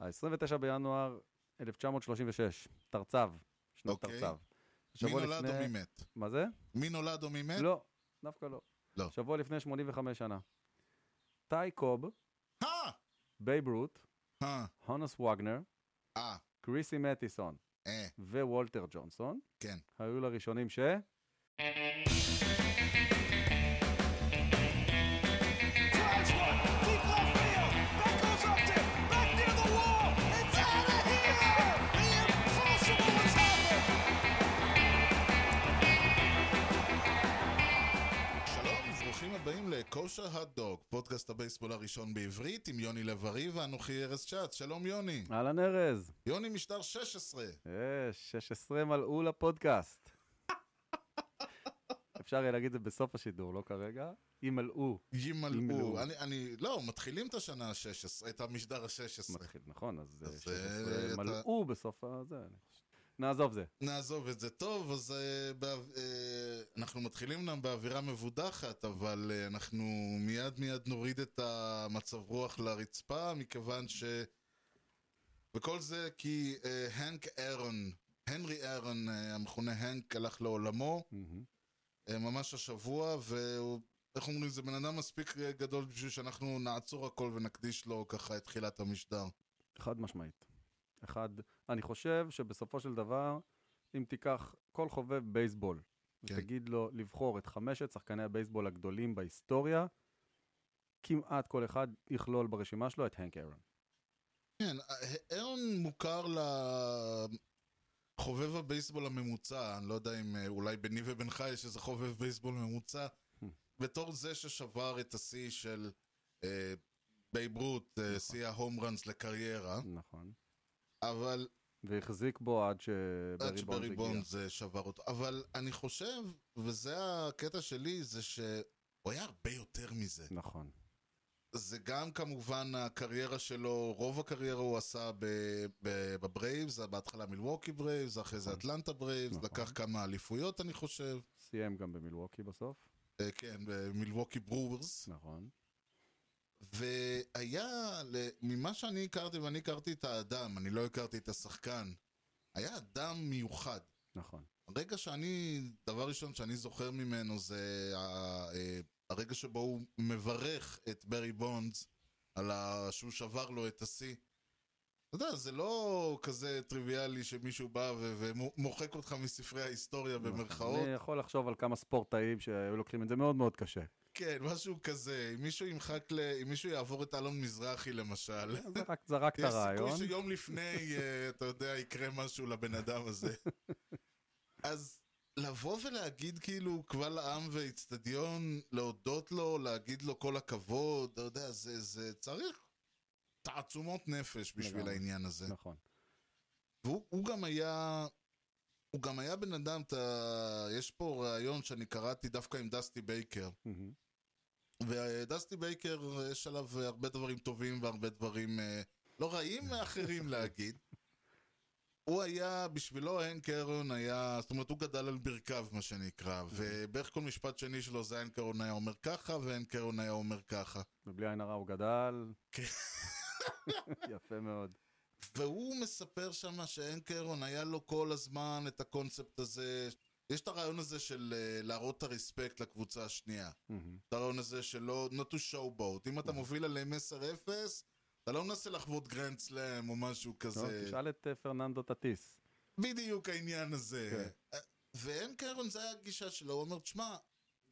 ה-29 בינואר 1936, תרצב, שנת אוקיי. תרצב. מי שבוע נולד או לפני- מי מת? מה זה? מי נולד או מי מת? לא, דווקא לא. לא. שבוע לפני 85 שנה. טי קוב, אה! בייב רוט, אה, הונס וגנר, אה, קריסי מטיסון אה, ווולטר ג'ונסון, כן. היו לראשונים ש... drives one, deep left field. That goes up to back near the wall. It's out of here. The impossible has happened. שלום, וברוכים הבאים לכושר הדוג, פודקאסט הבייסבול הראשון בעברית עם יוני לב-ארי ואנוכי ארז שץ. שלום יוני. אהלן ארז, יוני משטר 16. אה, 16 מלאו לפודקאסט. אפשר יהיה להגיד את זה בסוף השידור, לא כרגע. ימלאו, ימלאו. ימלאו. אני, אני, לא, מתחילים את השנה ה-16, את המשדר ה-16. מתחיל, נכון, אז אה, אז, 16 אה, אתה- מלאו בסוף הזה. אני חושב. נעזוב זה. נעזוב את זה טוב, אז אה, בא, אה, אנחנו מתחילים אומנם באווירה מבודחת, אבל אה, אנחנו מיד מיד נוריד את המצב רוח לרצפה, מכיוון ש... וכל זה כי אה, הנק אהרון, הנרי אהרון, אה, המכונה הנק, הלך לעולמו מהמם. אה, ממש השבוע, והוא, איך אומרים, זה בן אדם מספיק אה, גדול בשביל שאנחנו נעצור הכל ונקדיש לו ככה את תחילת המשדר. חד משמעית. אחד, אני חושב שבסופו של דבר, אם תיקח כל חובב בייסבול, כן. כן. ותגיד לו לבחור את חמשת שחקני הבייסבול הגדולים בהיסטוריה, כמעט כל אחד יכלול ברשימה שלו את הנק אהרון. כן, אהרון מוכר לחובב הבייסבול הממוצע, אני לא יודע אם אה, אולי ביני ובינך יש איזה חובב בייסבול ממוצע, בתור זה ששבר את השיא של אה, בייב רות, אה, שיא ההום ראנס לקריירה, נכון. אבל והחזיק בו עד שברי בונד עד שברי הגיע. בונד זה שבר אותו, אבל אני חושב, וזה הקטע שלי, זה שהוא היה הרבה יותר מזה. נכון. זה גם כמובן הקריירה שלו, רוב הקריירה הוא עשה ב- ב- בברייבס, בהתחלה מילווקי ברייבס, אחרי זה אטלנטה ברייבס, נכון. לקח כמה אליפויות אני חושב, סיים גם במילווקי בסוף. אה, כן, במילווקי ברוורס, נכון. והיה, ל- ממה שאני הכרתי, ואני הכרתי את האדם, אני לא הכרתי את השחקן, היה אדם מיוחד. נכון. הרגע שאני, דבר ראשון שאני זוכר ממנו זה ה- אה, הרגע שבו הוא מברך את ברי בונדס על ה... שהוא שבר לו את השיא. אתה יודע, זה לא כזה טריוויאלי שמישהו בא ו- ומוחק אותך מספרי ההיסטוריה נכון. במרכאות. אני יכול לחשוב על כמה ספורטאים שהיו לוקחים את זה מאוד מאוד קשה. כן, משהו כזה. אם מישהו ימחק ל... אם מישהו יעבור את אלון מזרחי למשל, זרק- זרק את יש סיכוי הרעיון. שיום לפני, אה, אתה יודע, יקרה משהו לבן אדם הזה. אז לבוא ולהגיד כאילו קבל עם ואיצטדיון, להודות לו, להגיד לו כל הכבוד, אתה יודע, זה, זה צריך תעצומות נפש בשביל לגמרי. העניין הזה. נכון. והוא הוא גם היה... הוא גם היה בן אדם, אתה... יש פה ראיון שאני קראתי דווקא עם דסטי בייקר. מהמם. ודסטי בייקר, יש עליו הרבה דברים טובים והרבה דברים אה, לא רעים מאחרים להגיד. הוא היה, בשבילו הנק אהרון היה, זאת אומרת, הוא גדל על ברכיו, מה שנקרא, ובערך כל משפט שני שלו זה הנק אהרון היה אומר ככה, והנק אהרון היה אומר ככה. ובלי עין הרע הוא גדל. כן. יפה מאוד. והוא מספר שם שהנק אהרון היה לו כל הזמן את הקונספט הזה. יש את הרעיון הזה של אה, להראות את הרספקט לקבוצה השנייה. מהמם. את הרעיון הזה שלא, not to show boat. אם אה. אתה מוביל עליהם 10-0, אתה לא מנסה לחוות גרנד סלאם או משהו נו, כזה. תשאל את אה, פרננדו טטיס. בדיוק העניין הזה. כן. אה, ואין קרן, זה היה הגישה שלו. הוא אומר, תשמע,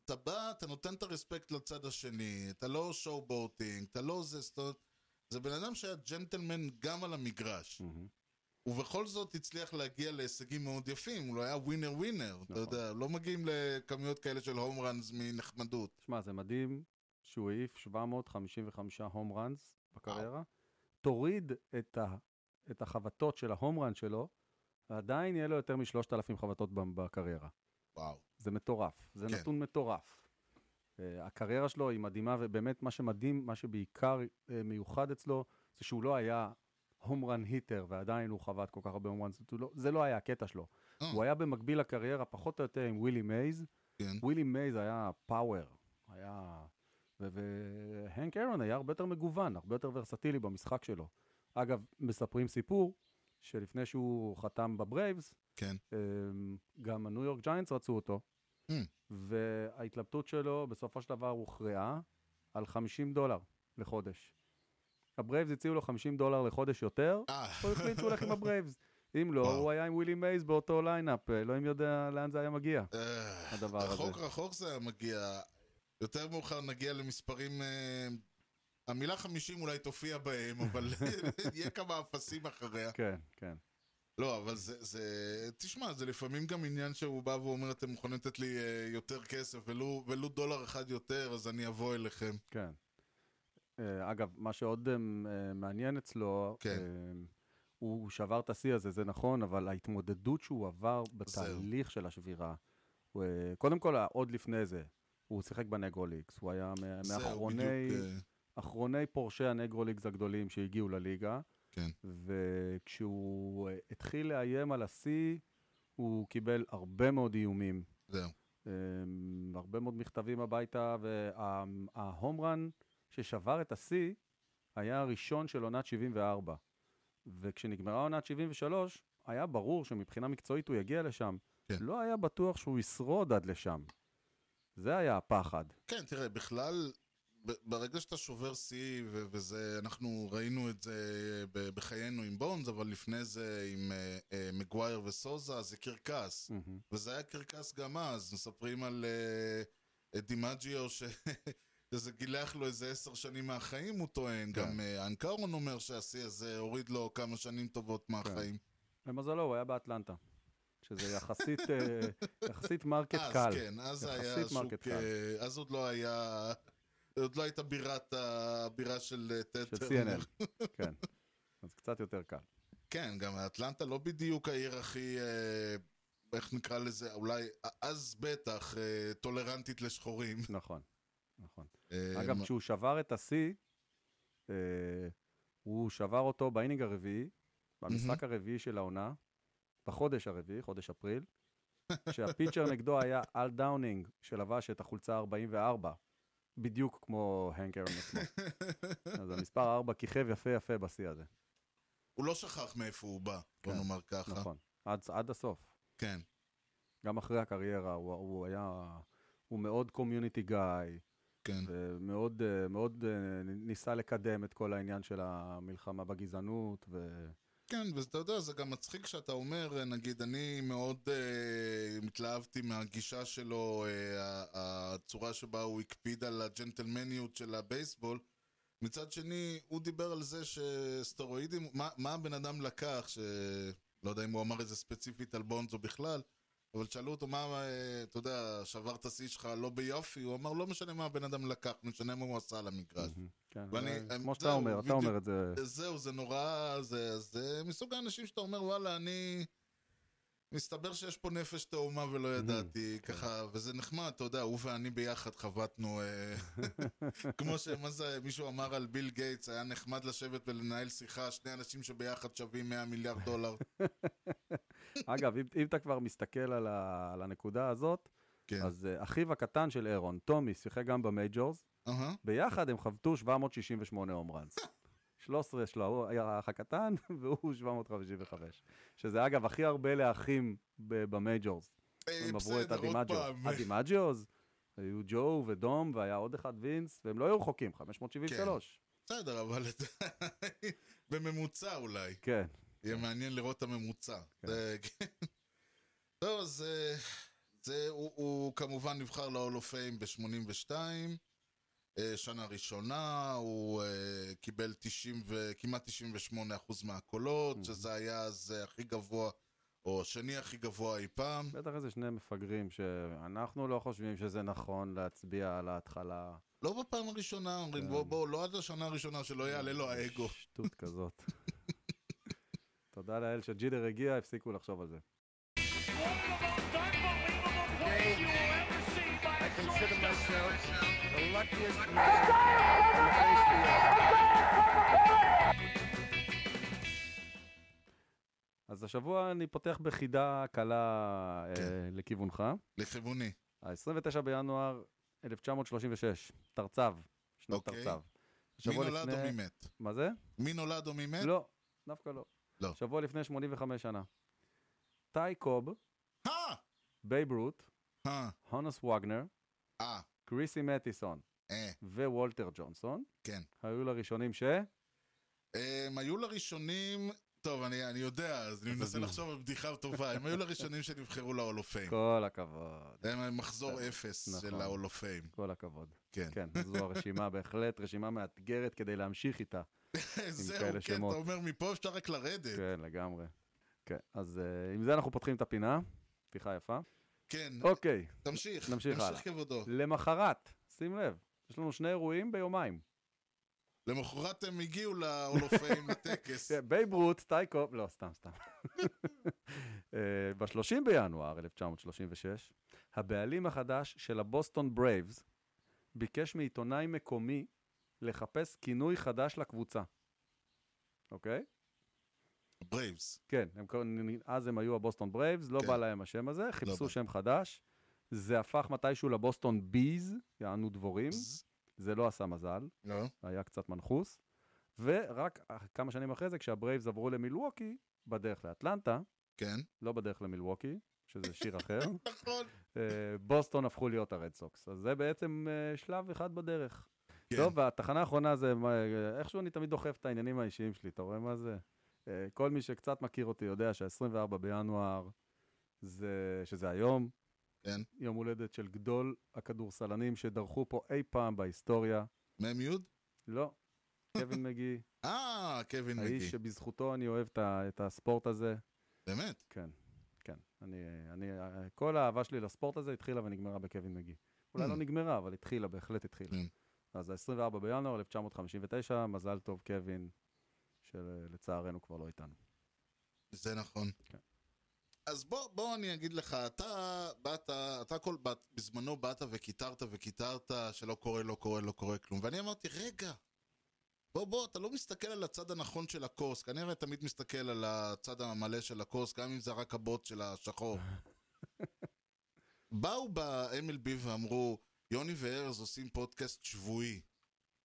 אתה בא, אתה נותן את הרספקט לצד השני, אתה לא show boating, אתה לא זה, זאת אומרת, זה בן אדם שהיה ג'נטלמן גם על המגרש. מהמם. ובכל זאת הצליח להגיע להישגים מאוד יפים, הוא לא היה ווינר ווינר, אתה נכון. יודע, לא מגיעים לכמויות כאלה של הום ראנס מנחמדות. שמע, זה מדהים שהוא העיף 755 הום ראנס בקריירה. תוריד את, ה, את החבטות של ההום ראן שלו, ועדיין יהיה לו יותר מ-3,000 חבטות ב- בקריירה. וואו. זה מטורף. זה כן. נתון מטורף. אה, הקריירה שלו היא מדהימה, ובאמת מה שמדהים, מה שבעיקר אה, מיוחד אצלו, זה שהוא לא היה הום רן היטר, ועדיין הוא חבט כל כך הרבה הום ראנס, לא, זה לא היה הקטע שלו. אה. הוא היה במקביל לקריירה, פחות או יותר עם ווילי מייז, כן. ווילי מייז היה פאוור, היה... והנק אהרון היה הרבה יותר מגוון, הרבה יותר ורסטילי במשחק שלו. אגב, מספרים סיפור שלפני שהוא חתם בברייבס, כן. אמ, גם הניו יורק ג'יינטס רצו אותו, Mm. וההתלבטות שלו בסופו של דבר הוכרעה על 50 דולר לחודש. הברייבס הציעו לו 50 דולר לחודש יותר, אה, הוא החליט שהוא הולך עם הברייבס. אם לא, וואו. הוא היה עם ווילי מייז באותו ליינאפ, אלוהים יודע לאן זה היה מגיע. אה, הדבר הזה. רחוק רחוק זה היה מגיע. יותר מאוחר נגיע למספרים... אה, המילה 50 אולי תופיע בהם, אבל יהיה כמה אפסים אחריה. כן, כן. לא, אבל זה, זה... תשמע, זה לפעמים גם עניין שהוא בא ואומר, אתם מוכנים לתת לי אה, יותר כסף, ולו, ולו דולר אחד יותר, אז אני אבוא אליכם. כן. אה, אגב, מה שעוד אה, אה, מעניין אצלו, כן. אה, הוא שבר את השיא הזה, זה נכון, אבל ההתמודדות שהוא עבר בתהליך של השבירה, הוא, אה, קודם כל, אה, עוד לפני זה, הוא שיחק בנגרוליקס, הוא היה מה- זהו, מאחרוני בדיוק, אה, אחרוני פורשי הנגרוליקס הגדולים שהגיעו לליגה, כן. וכשהוא אה, התחיל לאיים על השיא, הוא קיבל הרבה מאוד איומים זהו. אמ, הרבה מאוד מכתבים הביתה, וההום רן ששבר את השיא היה הראשון של עונת 74. וכשנגמרה עונת 73, היה ברור שמבחינה מקצועית הוא יגיע לשם. כן. לא היה בטוח שהוא ישרוד עד לשם. זה היה הפחד. כן, תראה, בכלל, ב- ברגע שאתה שובר שיא, ו- וזה, אנחנו ראינו את זה ב- בחיינו עם בונז, אבל לפני זה עם אה, אה, מגווייר וסוזה, זה קרקס. מהמם. וזה היה קרקס גם אז, מספרים על אה, אה, דימג'יו ש... שזה גילח לו איזה עשר שנים מהחיים, הוא טוען. כן. גם אה, אנקרון אומר שהשיא הזה הוריד לו כמה שנים כן. טובות מהחיים. למזלו, הוא היה באטלנטה. שזה יחסית, אה, יחסית מרקט אז קל. כן, אז היה יחסית שוק, מרקט קל. אה, אז עוד לא היה, עוד לא הייתה בירת, הבירה של אה, טד של טרנר. CNN. כן. אז קצת יותר קל. כן, גם אטלנטה לא בדיוק העיר הכי, אה, איך נקרא לזה, אולי, אז בטח, אה, טולרנטית לשחורים. נכון. נכון. אה, אגב, מה- כשהוא שבר את השיא, אה, הוא שבר אותו באינינג הרביעי, במשחק הרביעי של העונה, בחודש הרביעי, חודש אפריל, כשהפיצ'ר נגדו היה אל דאונינג, שלבש את החולצה 44, בדיוק כמו הנק ארון עצמו. אז המספר 4 כיכב יפה יפה בשיא הזה, הוא לא שכח מאיפה הוא בא, בוא כן, נאמר ככה. נכון. עד, עד הסוף. כן, גם אחרי הקריירה, הוא, הוא היה... הוא מאוד קומיוניטי גאי, כן. ומאוד אה, מאוד אה, ניסה לקדם את כל העניין של המלחמה בגזענות, ו... כן, ואתה יודע, זה גם מצחיק שאתה אומר, אה, נגיד, אני מאוד אה, התלהבתי מהגישה שלו, אה, ה- הצורה שבה הוא הקפיד על הג'נטלמניות של הבייסבול. מצד שני, הוא דיבר על זה שסטרואידים, מה, מה הבן אדם לקח, שלא יודע אם הוא אמר את זה ספציפית על בונז או בכלל, אבל שאלו אותו, מה, אה, אתה יודע, שבר את השיא שלך לא ביופי, הוא אמר, לא משנה מה הבן אדם לקח, משנה מה הוא עשה על המגרש. מהמם, כן, ואני- זה- אני- כמו שאתה זהו, אומר, אתה בדיוק. אומר את זה. זהו, זה נורא, זה, זה מסוג האנשים שאתה אומר, וואלה, אני... מסתבר שיש פה נפש תאומה ולא Mm-hmm. ידעתי, כן. ככה, וזה נחמד, אתה יודע, הוא ואני ביחד חבטנו, אה, כמו שמה זה, מישהו אמר על ביל גייטס, היה נחמד לשבת ולנהל שיחה, שני אנשים שביחד שווים 100 מיליארד דולר. אגב, אם אם אתה כבר מסתכל על ה- על הנקודה הזאת, כן. אז אה, אחיו הקטן של אירון, טומי, שיחק גם במייג'ורס, אהה. ביחד הם חבטו 768 הום ראנס. 13 שלו, הוא היה האח הקטן, והוא 755. שזה אגב הכי הרבה לאחים ב- במייג'ורס. אה, הם עברו את בסדר, עוד הדימג'יוז. פעם. הדימג'יוז, היו ג'ו ודום, והיה עוד אחד וינס, והם לא היו רחוקים, 573. בסדר, אבל אתה- בממוצע אולי. כן. יהיה מעניין לראות את הממוצע. כן. זה- כן. לא, זה... זה, הוא, הוא כמובן נבחר ל-all of fame ב-82, שנה ראשונה, הוא אה, קיבל 90 ו... כמעט 98 אחוז מהקולות, Mhm. שזה היה אז אה, הכי גבוה, או השני הכי גבוה אי פעם. בטח איזה שני מפגרים שאנחנו לא חושבים שזה נכון להצביע על ההתחלה. לא בפעם הראשונה, אומרים, כן. בוא, בוא, לא עד השנה הראשונה שלא יעלה לו האגו. שטות כזאת. תודה לאל שג'ידר הגיע, הפסיקו לחשוב על זה. One of the most unbelievable plays you will ever see by a consider shortstop. myself the luckiest man on the face of the earth. אז השבוע אני פותח בחידה קלה כן. אה, לכיוונך. לכיווני. ה-29 בינואר 1936, תרצב, שנת אוקיי. תרצב. מי שבוע נולד או מי לפני... מת? מה זה? מי נולד או מי מת? לא, דווקא לא. כן? לא. שבוע לפני 85 שנה. טי קוב, אה! בייב רוט, אה! הונס וגנר, אה! קריסי מטיסון אה! ווולטר ג'ונסון, כן. היו לראשונים ש... הם היו לראשונים... טוב, אני, אני יודע, אז אני מנסה תסביר. לחשוב על בדיחה טובה. הם היו לראשונים שנבחרו ל-all of Fame. כל הכבוד, הם מחזור אפס נכון. של ה-all of Fame. כל הכבוד. כן. כן, זו הרשימה, בהחלט רשימה מאתגרת כדי להמשיך איתה. זהו, כאלה כן, אתה שמות. אומר, מפה אפשר רק לרדת. כן, לגמרי. כן, אז אה, עם זה אנחנו פותחים את הפינה. פתיחה יפה. כן, אוקיי, תמשיך. נמשיך הלאה. תמשיך כבודו. למחרת, שים לב, יש לנו שני אירועים ביומיים. למחרת הם הגיעו להולופאים לטקס. כן, בייב רוט, טייקו, לא, סתם, סתם. אה, ב-30 בינואר 1936, הבעלים החדש של הבוסטון ברייבס ביקש מעיתונאי מקומי לחפש כינוי חדש לקבוצה. אוקיי? ברייבס. כן, הם, קראו- אז הם היו הבוסטון ברייבס, לא כן. בא להם השם הזה, חיפשו בא. שם חדש. זה הפך מתישהו לבוסטון ביז, יענו דבורים, זה לא עשה מזל, לא. היה קצת מנחוס. ורק אח- כמה שנים אחרי זה, כשהברייבס עברו למילווקי, בדרך לאטלנטה, כן. לא בדרך למילווקי, שזה שיר אחר, נכון. אה, בוסטון הפכו להיות הרד סוקס. אז זה בעצם אה, שלב אחד בדרך. כן. טוב, והתחנה האחרונה זה, מה- איכשהו אני תמיד דוחף את העניינים האישיים שלי, אתה רואה מה זה? אה, כל מי שקצת מכיר אותי יודע שה-24 בינואר, זה, שזה היום, כן. יום הולדת של גדול הכדורסלנים שדרכו פה אי פעם בהיסטוריה. מ"ם יוד? לא, קווין מגי, אה, קווין האיש מגי. שבזכותו אני אוהב את ה- את הספורט הזה. באמת? כן, כן. אני, אני, כל האהבה שלי לספורט הזה התחילה ונגמרה בקווין מגי. אולי לא Hmm. נגמרה, אבל התחילה, בהחלט התחילה. Mm. אז ה-24 בינואר 1959, מזל טוב קווין, שלצערנו כבר לא איתנו. Mm. זה נכון. כן. אז בוא, בוא אני אגיד לך, אתה באת, אתה כל, באת, בזמנו באת וקיטרת וקיטרת שלא קורה, לא קורה, לא קורה כלום. ואני אמרתי, רגע, בוא, בוא, אתה לא מסתכל על הצד הנכון של הכוס. כנראה תמיד מסתכל על הצד המלא של הכוס, גם אם זה רק הבוט של השחור. באו ב-MLB ואמרו, יוני וארז עושים פודקאסט שבועי.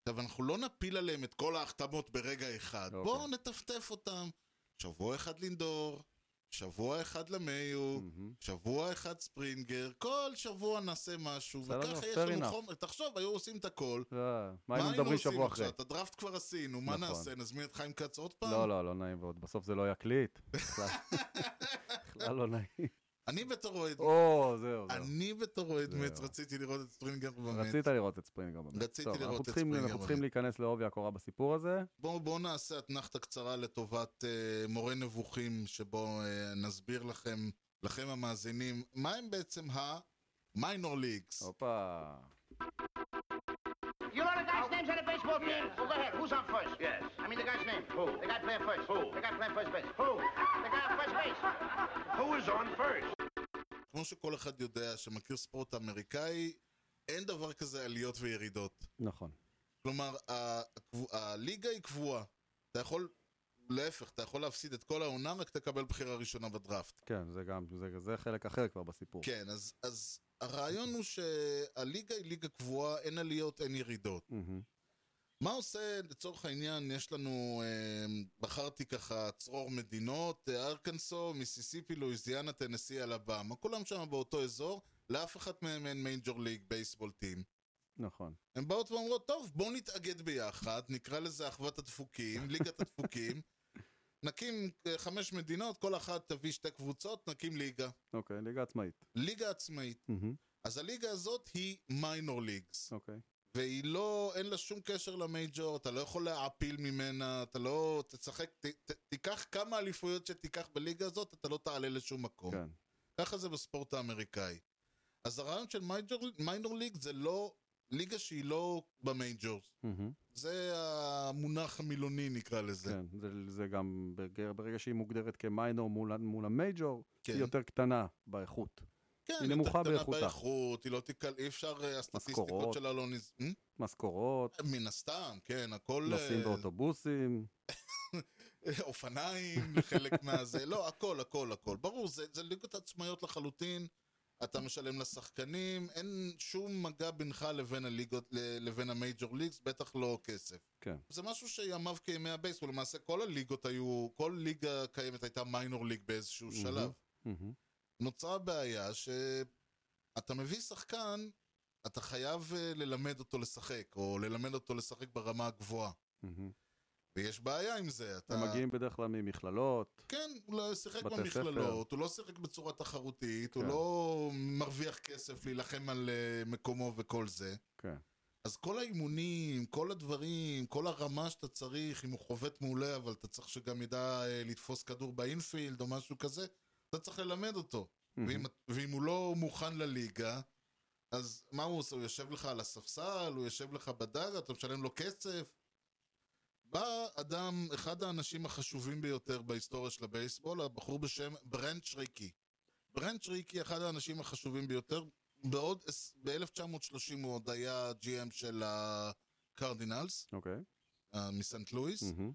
עכשיו, אנחנו לא נפיל עליהם את כל ההחתמות ברגע אחד. אוקיי. בואו נטפטף אותם. שבוע אחד לינדור, שבוע אחד למיו, מהמם. שבוע אחד ספרינגר, כל שבוע נעשה משהו, בסדר, וככה יש fair לנו enough. חומר. תחשוב, היו עושים את הכל. אה, מה היינו מדברים שבוע אחרי? עכשיו? את הדראפט כבר עשינו, מה נכון. נעשה? נזמין את חיים כץ עוד פעם? לא, לא, לא נעים, ועוד בסוף זה לא יקליט. בכלל. בכלל לא נעים. אני בתור אוהד... לא, או, זהו, זהו. אני בתור אוהד זהו. מצ רציתי לראות את ספרינגר באמת. רצית לראות את ספרינגר באמת. רציתי טוב, לראות אנחנו את צריכים- ספרינגר אנחנו באמת. צריכים להיכנס לעובי הקורה בסיפור הזה. בואו בוא נעשה אתנחתא קצרה לטובת אה, מורה נבוכים, שבו אה, נסביר לכם, לכם המאזינים, מה הם בעצם ה-minor leagues. הופה. You know the guy's names on the baseball team? Well, go ahead. Who's on first? Yes. I mean the guy's name. Who? The guy playing first. Who? The guy playing first base. Who? The guy on first base. Who is on first? כמו שכל אחד יודע שמכיר ספורט אמריקאי, אין דבר כזה עליות וירידות. נכון. כלומר, ה- הקב- הליגה היא קבועה. אתה יכול, להפך, אתה יכול להפסיד את כל העונה, רק תקבל בחירה ראשונה בדראפט. כן, זה גם, זה, זה חלק אחר כבר בסיפור. כן, אז, אז הרעיון הוא שהליגה היא ליגה קבועה, אין עליות, אין ירידות. מהמם. מה עושה, לצורך העניין, יש לנו, אה, בחרתי ככה צרור מדינות, אה, ארקנסו, מיסיסיפי, לואיזיאנה, טנסי, אלבמה, כולם שם באותו אזור, לאף אחת מהם אין מייג'ור ליג בייסבול טים. נכון. הן באות ואומרות, טוב, בואו נתאגד ביחד, נקרא לזה אחוות הדפוקים, ליגת הדפוקים, נקים אה, חמש מדינות, כל אחת תביא שתי קבוצות, נקים ליגה. אוקיי, ליגה עצמאית. ליגה עצמאית. מהמם. אז הליגה הזאת היא מיינור ליגס. אוקיי. והיא לא, אין לה שום קשר למייג'ור, אתה לא יכול להעפיל ממנה, אתה לא, תשחק, ת, ת, תיקח כמה אליפויות שתיקח בליגה הזאת, אתה לא תעלה לשום מקום. כן. ככה זה בספורט האמריקאי. אז הרעיון של מייג'ור, מיינור ליג זה לא, ליגה שהיא לא במייג'ור. מהמם. זה המונח המילוני נקרא לזה. כן, זה- זה גם ברגע- ברגע שהיא מוגדרת כמיינור מול ה- מול המייג'ור, כן. היא יותר קטנה באיכות. כן, היא נמוכה יותר קטנה באיכותה. באיכות, היא לא תיקל, אי אפשר, אה, הסטטיסטיקות משכורות. שלה לא נז... אה? משכורות, מן הסתם, כן, הכל... נוסעים אה, באוטובוסים, אופניים, חלק מהזה, לא, הכל, הכל, הכל. ברור, זה, זה ליגות עצמאיות לחלוטין, אתה משלם לשחקנים, אין שום מגע בינך לבין הליגות, ל- לבין המייג'ור ליגס, בטח לא כסף. כן. זה משהו שימיו כימי הבייסבול, למעשה כל הליגות היו, כל ליגה קיימת הייתה מיינור ליג באיזשהו מהמם. שלב. מהמם. נוצרה בעיה שאתה מביא שחקן, אתה חייב אה, ללמד אותו לשחק, או ללמד אותו לשחק ברמה הגבוהה. מהמם. ויש בעיה עם זה, אתה... הם מגיעים בדרך כלל ממכללות. כן, הוא לא שיחק בתי במכללות, הוא לא שיחק בצורה תחרותית, הוא כן. לא מרוויח כסף להילחם על אה, מקומו וכל זה. כן. אז כל האימונים, כל הדברים, כל הרמה שאתה צריך, אם הוא חובט מעולה, אבל אתה צריך שגם ידע אה, לתפוס כדור באינפילד או משהו כזה, אתה צריך ללמד אותו. ואם, ואם הוא לא מוכן לליגה, אז מה הוא עושה? הוא יושב לך על הספסל, הוא יושב לך בדאגה, אתה משלם לו כסף. בא אדם, אחד האנשים החשובים ביותר בהיסטוריה של הבייסבול, הבחור בשם ברנד שריקי. ברנד שריקי, אחד האנשים החשובים ביותר, בעוד, ב-1930 הוא עוד היה GM של הקרדינלס, אוקיי. אה, מסנט לואיס. מהמם.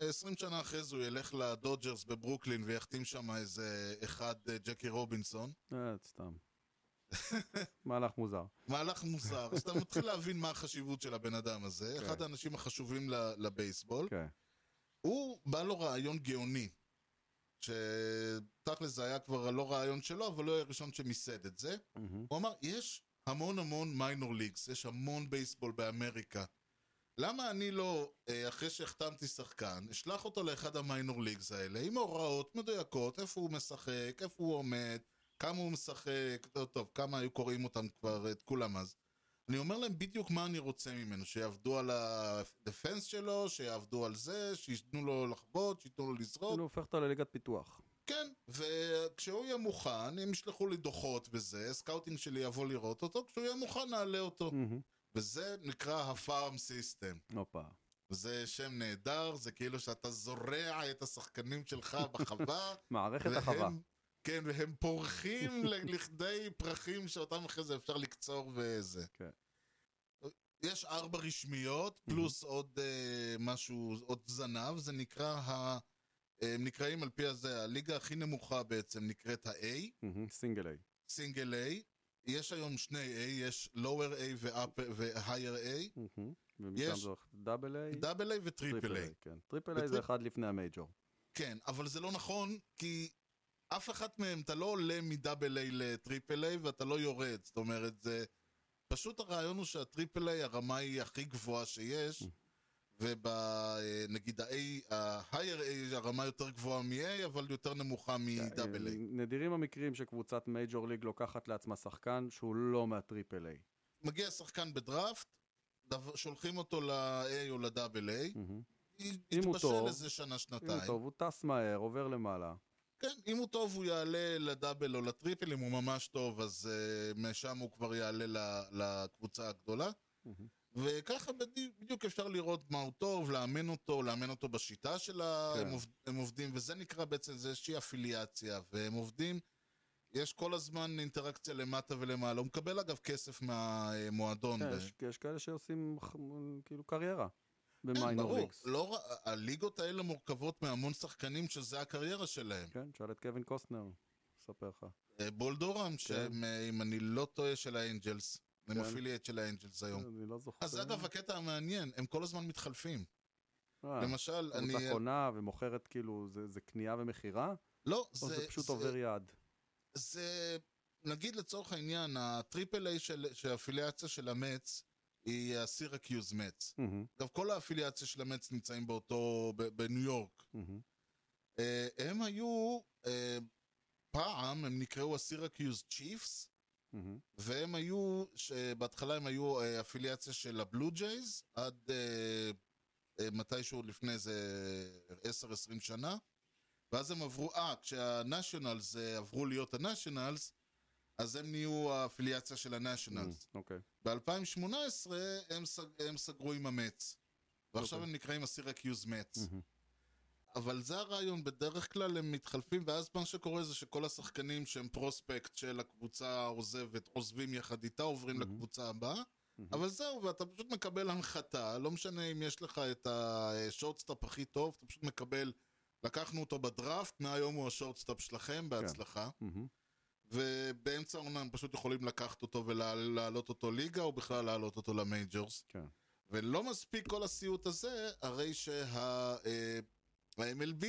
20 שנה אחרי זה הוא ילך לדודג'רס בברוקלין ויחתים שם איזה אחד, אה, ג'קי רובינסון. אה, סתם. מהלך מוזר. מהלך מוזר, אז אתה מתחיל להבין מה החשיבות של הבן אדם הזה, כן. אחד האנשים החשובים ל- לבייסבול. כן. הוא, בא לו רעיון גאוני, שתכל'ס זה היה כבר לא רעיון שלו, אבל הוא היה הראשון שמיסד את זה. מהמם. הוא אמר, יש המון המון מיינור ליגס, יש המון בייסבול באמריקה. למה אני לא, אה, אחרי שהחתמתי שחקן, אשלח אותו לאחד המיינור ליגס האלה, עם הוראות מדויקות, איפה הוא משחק, איפה הוא עומד, כמה הוא משחק, לא טוב, כמה היו קוראים אותם כבר, את כולם אז. אני אומר להם בדיוק מה אני רוצה ממנו, שיעבדו על הדפנס שלו, שיעבדו על זה, שייתנו לו לחבוט, שייתנו לו לזרוק. כאילו הופך אותו לליגת פיתוח. כן, וכשהוא יהיה מוכן, הם ישלחו לי דוחות וזה, סקאוטינג שלי יבוא לראות אותו, כשהוא יהיה מוכן נעלה אותו. מהמם. וזה נקרא הפארם סיסטם. הופה. זה שם נהדר, זה כאילו שאתה זורע את השחקנים שלך בחווה. מערכת החווה. כן, והם פורחים ל- לכדי פרחים שאותם אחרי זה אפשר לקצור וזה. כן. יש ארבע רשמיות, פלוס עוד אה, משהו, עוד זנב, זה נקרא ה... אה, הם נקראים על פי הזה, הליגה הכי נמוכה בעצם נקראת ה-A, מהמם. סינגל איי. סינגל A. יש היום שני A, יש lower A ו-upper- ו-higher A, מהמם. ומשם יש- זה הולך דאבל איי. double A וטריפל A. כן. טריפל איי זה וטריפ- אחד לפני המייג'ור. כן, אבל זה לא נכון, כי אף אחת מהם, אתה לא עולה מדאבל איי לטריפל איי ואתה לא יורד. זאת אומרת, זה... פשוט הרעיון הוא שהטריפל איי, הרמה היא הכי גבוהה שיש, ובנגיד ה-A, ה-higher A, הרמה יותר גבוהה מ-A, אבל יותר נמוכה מ-double A. אה, נדירים המקרים שקבוצת מייג'ור ליג לוקחת לעצמה שחקן שהוא לא מהטריפל איי. מגיע שחקן בדראפט, דו- שולחים אותו ל-A או לדאבל איי, מהמם. אם הוא יתבשל טוב, איזה שנה, הנה שנתיים. טוב, הוא טס מהר, עובר למעלה. כן, אם הוא טוב הוא יעלה לדאבל או לטריפל, אם הוא ממש טוב אז uh, משם הוא כבר יעלה ל- לקבוצה הגדולה. מהמם. וככה בדי- בדיוק אפשר לראות מה הוא טוב, לאמן אותו, לאמן אותו בשיטה שלה, כן. הם, עובד, הם עובדים, וזה נקרא בעצם, זה איזושהי אפיליאציה, והם עובדים, יש כל הזמן אינטראקציה למטה ולמעלה, הוא מקבל אגב כסף מהמועדון. כן, ב- יש- יש כאלה שעושים ח- כאילו קריירה כן, במיינור ברור, ליגס. לא, ר- הליגות האלה מורכבות מהמון שחקנים שזה הקריירה שלהם. כן, תשאל את קווין קוסטנר, אספר לך. אה, בול דורם, שהם, אה, אם אני לא טועה, של האנג'לס. הם כן. אפיליאט של האנג'לס היום. אני לא זוכר. אז אגב, הקטע המעניין, הם כל הזמן מתחלפים. אה, למשל, אני... קבוצה קונה ומוכרת, כאילו, זה זה קנייה ומכירה? לא, או זה פשוט עובר יד? זה, נגיד לצורך העניין, הטריפל איי של של האפיליאציה של המץ, היא הסירקיוז מצ. מהמם, אגב, כל האפיליאציה של המץ נמצאים באותו, ב- בניו יורק. מהמם. אה, הם היו, אה, פעם, הם נקראו הסירקיוז צ'יפס. מהמם. והם היו, בהתחלה הם היו אה, אפיליאציה של הבלו ג'ייז, עד אה, אה, מתישהו לפני איזה 10-20 שנה, ואז הם עברו, אה, כשהנשיונלס אה, עברו להיות הנשיונלס, אז הם נהיו האפיליאציה של הנשיונלס. מהמם, אוקיי. ב-2018 הם, סג- הם סגרו עם המץ, ועכשיו אוקיי. Mm. הם נקראים הסירקיוז מצ. מהמם. אבל זה הרעיון, בדרך כלל הם מתחלפים, ואז מה שקורה זה שכל השחקנים שהם פרוספקט של הקבוצה העוזבת, עוזבים יחד איתה, עוברים מהמם. לקבוצה הבאה, מהמם. אבל זהו, ואתה פשוט מקבל הנחתה, לא משנה אם יש לך את השורטסטאפ הכי טוב, אתה פשוט כן. Mm-hmm. מקבל, לקחנו אותו בדראפט, מהיום הוא השורטסטאפ שלכם, בהצלחה. מהמם. ובאמצע העונה הם פשוט יכולים לקחת אותו ולהעלות אותו ליגה, או בכלל להעלות אותו למייג'ורס. כן. ולא מספיק כל הסיוט הזה, הרי אה, שה-MLB,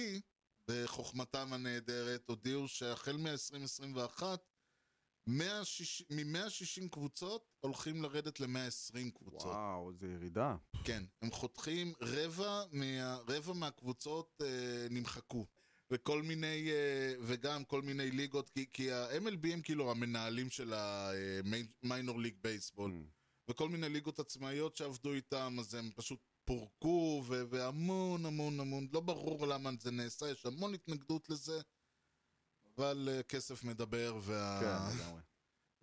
בחוכמתם הנהדרת, הודיעו שהחל מ-2021, 160 מ-160 קבוצות הולכים לרדת ל-120 קבוצות. וואו, זו ירידה. כן, הם חותכים רבע, מה, רבע מהקבוצות אה, נמחקו. וכל מיני, אה, וגם כל מיני ליגות, כי, כי ה-MLB הם כאילו המנהלים של המיינור ליג בייסבול. Mm. וכל מיני ליגות עצמאיות שעבדו איתם, אז הם פשוט פורקו, ו- והמון המון המון, לא ברור למה זה נעשה, יש המון התנגדות לזה, אבל אה, כסף מדבר, וה... כן, לגמרי.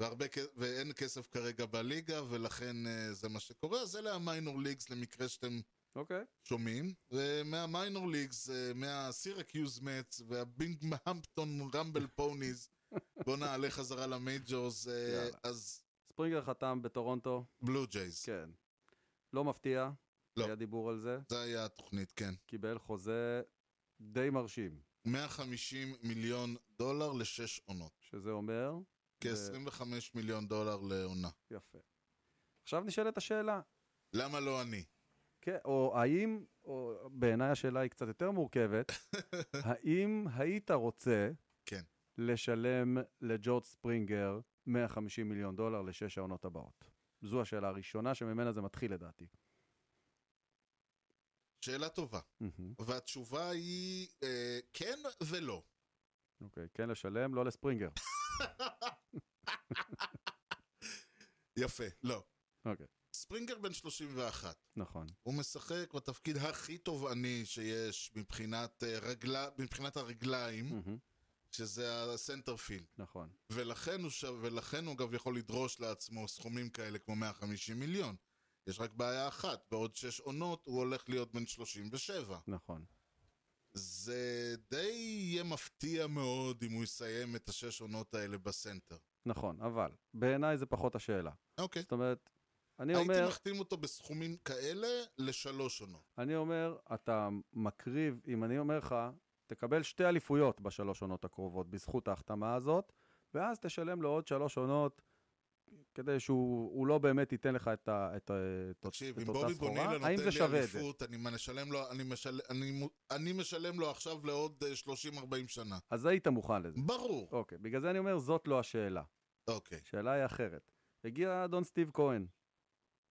והרבה, כ- ואין כסף כרגע בליגה, ולכן אה, זה מה שקורה. אז אלה המיינור ליגס למקרה שאתם אוקיי. שומעים. ומהמיינור ליגס, אה, מהסירקיוז מאץ והבינגהמפטון רמבל פוניז, בוא נעלה חזרה למייג'ורס, אה, יאללה. אז ספרינגר חתם בטורונטו, בלו ג'ייז. כן. לא מפתיע, לא. היה דיבור על זה. זה היה התוכנית, כן. קיבל חוזה די מרשים, 150 מיליון דולר לשש עונות. שזה אומר, כ-25 מיליון דולר לעונה. יפה. עכשיו נשאלת השאלה, למה לא אני? כן, או האם, או בעיניי השאלה היא קצת יותר מורכבת, האם היית רוצה כן. לשלם לג'ורג' ספרינגר 150 מיליון דולר לשש העונות הבאות? זו השאלה הראשונה שממנה זה מתחיל לדעתי. שאלה טובה. מהמם. והתשובה היא אה, כן ולא. אוקיי, כן לשלם, לא לספרינגר. יפה, לא. אוקיי, ספרינגר בן 31. נכון. הוא משחק בתפקיד הכי תובעני שיש מבחינת, אה, רגלה, מבחינת הרגליים, מהמם, שזה הסנטרפילד. נכון. ולכן הוא, ש... ולכן הוא אגב יכול לדרוש לעצמו סכומים כאלה כמו 150 מיליון. יש רק בעיה אחת, בעוד שש עונות הוא הולך להיות בן 37. נכון. זה די יהיה מפתיע מאוד אם הוא יסיים את השש עונות האלה בסנטר. נכון, אבל בעיניי זה פחות השאלה. אוקיי. זאת אומרת, אני הייתי אומר, מחתים אותו בסכומים כאלה לשלוש עונות. אני אומר, אתה מקריב, אם אני אומר לך, תקבל שתי אליפויות בשלוש עונות הקרובות בזכות ההחתמה הזאת, ואז תשלם לו עוד שלוש עונות, כדי שהוא הוא לא באמת ייתן לך את, ה, את, ה- את, תקשיב, את אם אותה בובי סחורה, בונילה האם נותן זה לי שווה את זה? אליפות, אני משלם לו, אני משל- אני מו- אני משלם לו עכשיו לעוד אה, 30-40 שנה. אז היית מוכן לזה. ברור. אוקיי, בגלל זה אני אומר, זאת לא השאלה. אוקיי. השאלה היא אחרת. הגיע אדון סטיב כהן,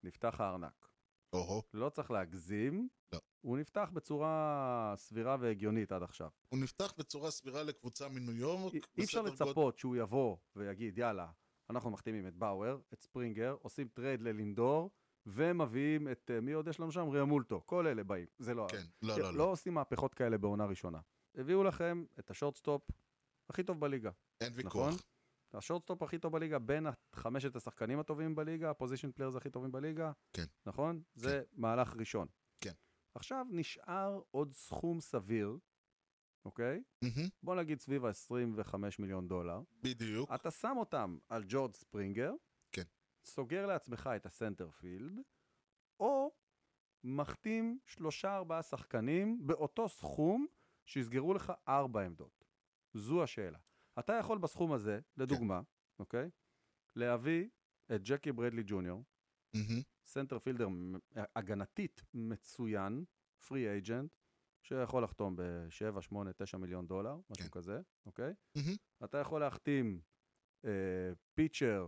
נפתח הארנק. או-הו. לא צריך להגזים, לא. הוא נפתח בצורה סבירה והגיונית עד עכשיו. הוא נפתח בצורה סבירה לקבוצה מניו יורק. אי- אי אפשר אוקיי, בסדר גודל- לצפות שהוא יבוא ויגיד, יאללה, אנחנו מחתימים את באואר, את ספרינגר, עושים טרייד ללינדור, ומביאים את, אה, מי עוד יש לנו שם? ריאמולטו. כל אלה באים. זה לא... כן, לא, כן, לא, לא לא. עושים מהפכות כאלה בעונה ראשונה. הביאו לכם את השורטסטופ הכי טוב בליגה, אין נכון? ויכוח. השורטסטופ הכי טוב בליגה, בין חמשת השחקנים הטובים בליגה, הפוזיישן פליירס הכי טובים בליגה. כן. נכון? זה מהלך ראשון. כן. עכשיו נשאר עוד סכום סביר, אוקיי? מהמם, בוא נגיד סביב ה-25 מיליון דולר. בדיוק. אתה שם אותם על ג'ורד ספרינגר, כן. סוגר לעצמך את הסנטרפילד, או מחתים שלושה ארבעה שחקנים באותו סכום שיסגרו לך ארבע עמדות. זו השאלה. אתה יכול בסכום הזה, לדוגמה, כן. אוקיי? להביא את ג'קי ברדלי ג'וניור, מהמם, סנטרפילדר מ- הגנתית מצוין, פרי אייג'נט, שיכול לחתום ב-7, 8, 9 מיליון דולר, משהו כן. כזה, אוקיי? מהמם. אתה יכול להחתים אה, פיצ'ר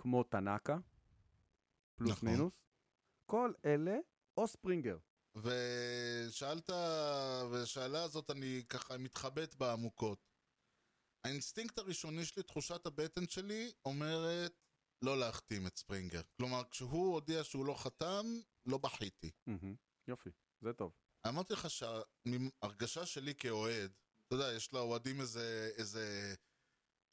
כמו טנאקה, פלוס נכון. מינוס. כל אלה, או ספרינגר. ושאלת, ושאלה הזאת אני ככה מתחבט בה עמוקות. האינסטינקט הראשוני שלי, תחושת הבטן שלי, אומרת לא להחתים את ספרינגר. כלומר, כשהוא הודיע שהוא לא חתם, לא בכיתי. יופי, זה טוב. אמרתי לך שההרגשה שלי כאוהד, אתה יודע, יש לאוהדים איזה, איזה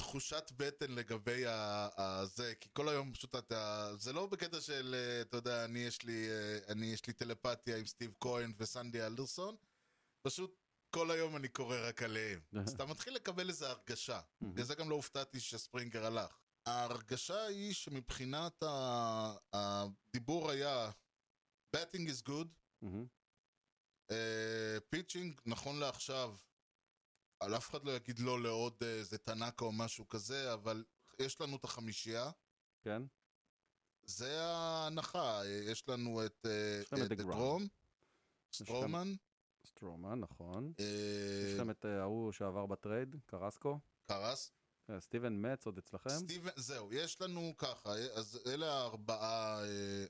תחושת בטן לגבי ה- ה- זה, כי כל היום פשוט אתה, זה לא בקטע של, אה, אתה יודע, אני יש לי, אה, אני יש לי טלפתיה עם סטיב כהן וסנדי אלדרסון, פשוט כל היום אני קורא רק עליהם. אז אתה מתחיל לקבל איזו הרגשה. בגלל זה גם לא הופתעתי שספרינגר הלך. ההרגשה היא שמבחינת ה- הדיבור היה, betting is good, מהמם. פיצ'ינג נכון אה, לעכשיו על אף אחד לא יגיד לא לעוד אה, איזה תנקה או משהו כזה, אבל יש לנו את החמישייה. כן? זה ההנחה, אה, יש לנו את אה, יש לכם את את דגרם. דרום, לכם- סטרומן, סטרומן, נכון. אה, יש לכם את אה, ההוא שעבר בטרייד, קרסקו. קרס, אה, סטיבן מצ עוד אצלכם. סטיבן, זהו, יש לנו ככה, אה, אז אלה הארבעה, אה,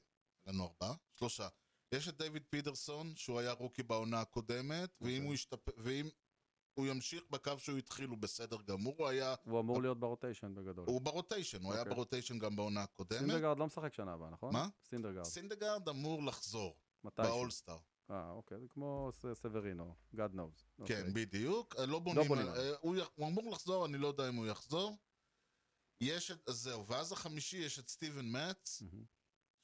לנו ארבעה? שלושה. יש את דיוויד פידרסון, שהוא היה רוקי בעונה הקודמת, ואם אוקיי. הוא ישתפר, ואם הוא ימשיך בקו שהוא התחיל, הוא בסדר גמור, הוא היה, הוא אמור להיות ברוטיישן בגדול. הוא ברוטיישן, הוא היה אוקיי. ברוטיישן גם בעונה הקודמת. סינדרגרד לא משחק שנה הבאה, נכון? מה? סינדרגרד. סינדגרד אמור לחזור, מתי? באולסטאר. כן, אה, אוקיי, זה כמו ס- סברינו, God knows. אוקיי. כן, בדיוק. אה, לא בונים בונים על... עליו. אה, הוא יח- הוא אמור לחזור, אני לא יודע אם הוא יחזור. יש את... אז זהו, ואז החמישי יש את סטיבן מאץ, מהמם.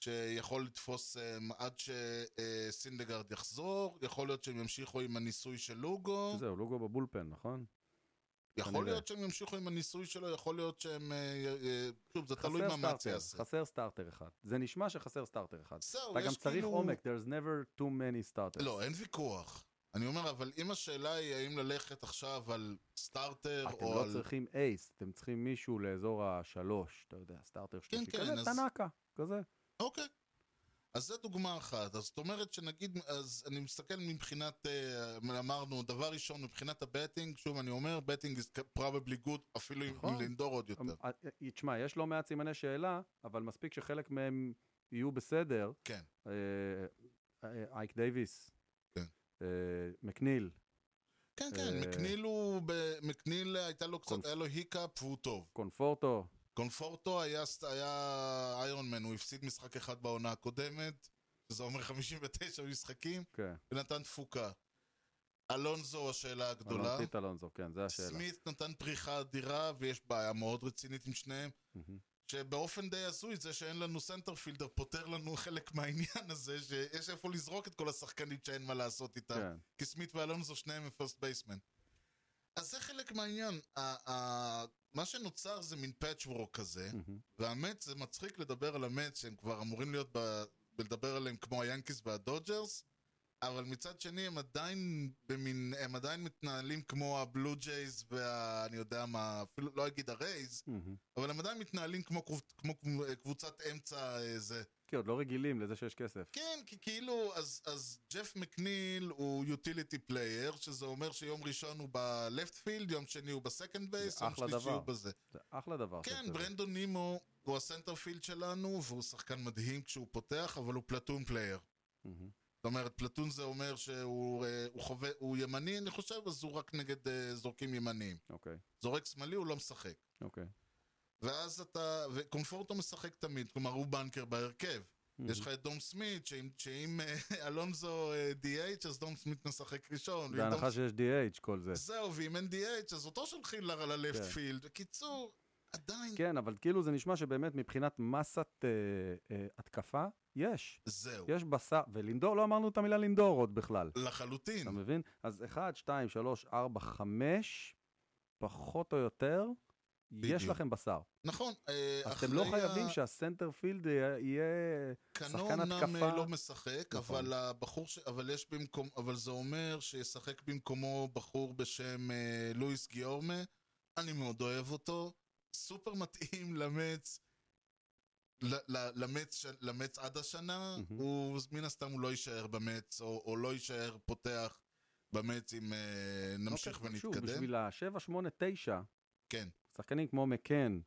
שיכול לתפוס אה, עד שסינדגרד יחזור, יכול להיות שהם ימשיכו עם הניסוי של לוגו, זהו, לוגו בבולפן, נכון? יכול כנראה. להיות שהם ימשיכו עם הניסוי שלו, יכול להיות שהם... אה, אה, שוב, זה תלוי חסר מה מאץ סטארטר, יעשה. חסר סטארטר אחד. זה נשמע שחסר סטארטר אחד. זהו, אתה יש גם צריך כאילו- עומק, there's never too many starters. לא, אין ויכוח. אני אומר, אבל אם השאלה היא האם ללכת עכשיו על סטארטר אתם או לא על... צריכים אייס, אתם צריכים מישהו לאזור השלוש, אתה יודע, סטארטר שלישי. כן, כזה, אז- תנאקה, כזה. אוקיי. אז זו דוגמה אחת. אז זאת אומרת שנגיד, אז אני מסתכל מבחינת, אה, אמרנו, דבר ראשון, מבחינת הבטינג, שוב אני אומר, בטינג is probably good, אפילו נכון. עם לינדור עוד יותר. אה, אה, תשמע, יש לא מעט סימני שאלה, אבל מספיק שחלק מהם יהיו בסדר. כן. אה, אה, אייק דייוויס. כן. אה, מקניל, כן, אה, כן, מקניל הוא, ב- מקניל אה, הייתה לו קונפ- קצת, היה לו היקאפ והוא טוב. קונפורטו. קונפורטו היה ס- היה איירון מן, הוא הפסיד משחק אחד בעונה הקודמת, שזה אומר 59 משחקים, כן. ונתן תפוקה. אלונזו השאלה הגדולה. אלונזית אלונזו, כן, זו השאלה. סמית נתן פריחה אדירה, ויש בעיה מאוד רצינית עם שניהם. מהמם. שבאופן די הזוי זה שאין לנו סנטרפילדר פותר לנו חלק מהעניין הזה שיש איפה לזרוק את כל השחקנים שאין מה לעשות איתם. כן. כי סמית ואלונזו שניהם הם פרסט בייסמן. אז זה חלק מהעניין. ה- ה- מה שנוצר זה מין פאצ'וורק כזה, מהמם. והמץ זה מצחיק לדבר על המץ שהם כבר אמורים להיות ב... ולדבר עליהם כמו היאנקיס והדודג'רס, אבל מצד שני הם עדיין במין, הם עדיין מתנהלים כמו הבלו ג'ייז וה... אני יודע מה, אפילו לא אגיד הרייז, מהמם. אבל הם עדיין מתנהלים כמו, קבוצ... כמו קבוצת אמצע אה, זה. כי עוד לא רגילים לזה שיש כסף. כן, כי כאילו, אז, אז ג'ף מקניל הוא יוטיליטי פלייר, שזה אומר שיום ראשון הוא ב-left field, יום שני הוא בסקנד בייס, זה יום אחלה שלישי דבר. הוא בזה. זה אחלה דבר. שיש כן, לזה. ברנדון נימו הוא הסנטרפילד שלנו, והוא שחקן מדהים כשהוא פותח, אבל הוא פלטון פלייר. מהמם. זאת אומרת, פלטון זה אומר שהוא אה, הוא חווה, הוא ימני, אני חושב, אז הוא רק נגד אה, זורקים ימניים. אוקיי, זורק שמאלי, הוא לא משחק. אוקיי. ואז אתה, וקונפורטו משחק תמיד, כלומר הוא בנקר בהרכב. Mm-hmm. יש לך את דום סמית, שאם- שאם אה, אלונזו אה, DH, אז דום סמית משחק ראשון. ואם בהנחה דום- שיש DH כל זה. זהו, ואם אין DH, אז אותו שולחים ל- ללפט כן. פילד. בקיצור, עדיין, כן, אבל כאילו זה נשמע שבאמת מבחינת מסת אה, אה, התקפה, יש. זהו, יש בשר, ולינדור, לא אמרנו את המילה לינדור עוד בכלל. לחלוטין. אתה מבין? אז 1, 2, 3, 4, 5, פחות או יותר, יש בדיוק. לכם בשר. נכון. אה, אז אתם אחרי לא ה- חייבים שהסנטר פילד יהיה... יהיה- קנו שחקן אמנם התקפה- אה, לא משחק, נכון. אבל הבחור, ש- אבל יש במקום, אבל זה אומר שישחק במקומו בחור בשם אה, לואיס גיורמה. אני מאוד אוהב אותו. סופר מתאים למץ, ל- ל- למץ, ש- למץ עד השנה. מהמם. הוא, מן הסתם הוא לא יישאר במץ, או, או לא יישאר פותח במץ אם אה, נמשיך אוקיי, שוב, ונתקדם. בשביל ה-7, 8, 9, כן, שחקנים כמו מקן,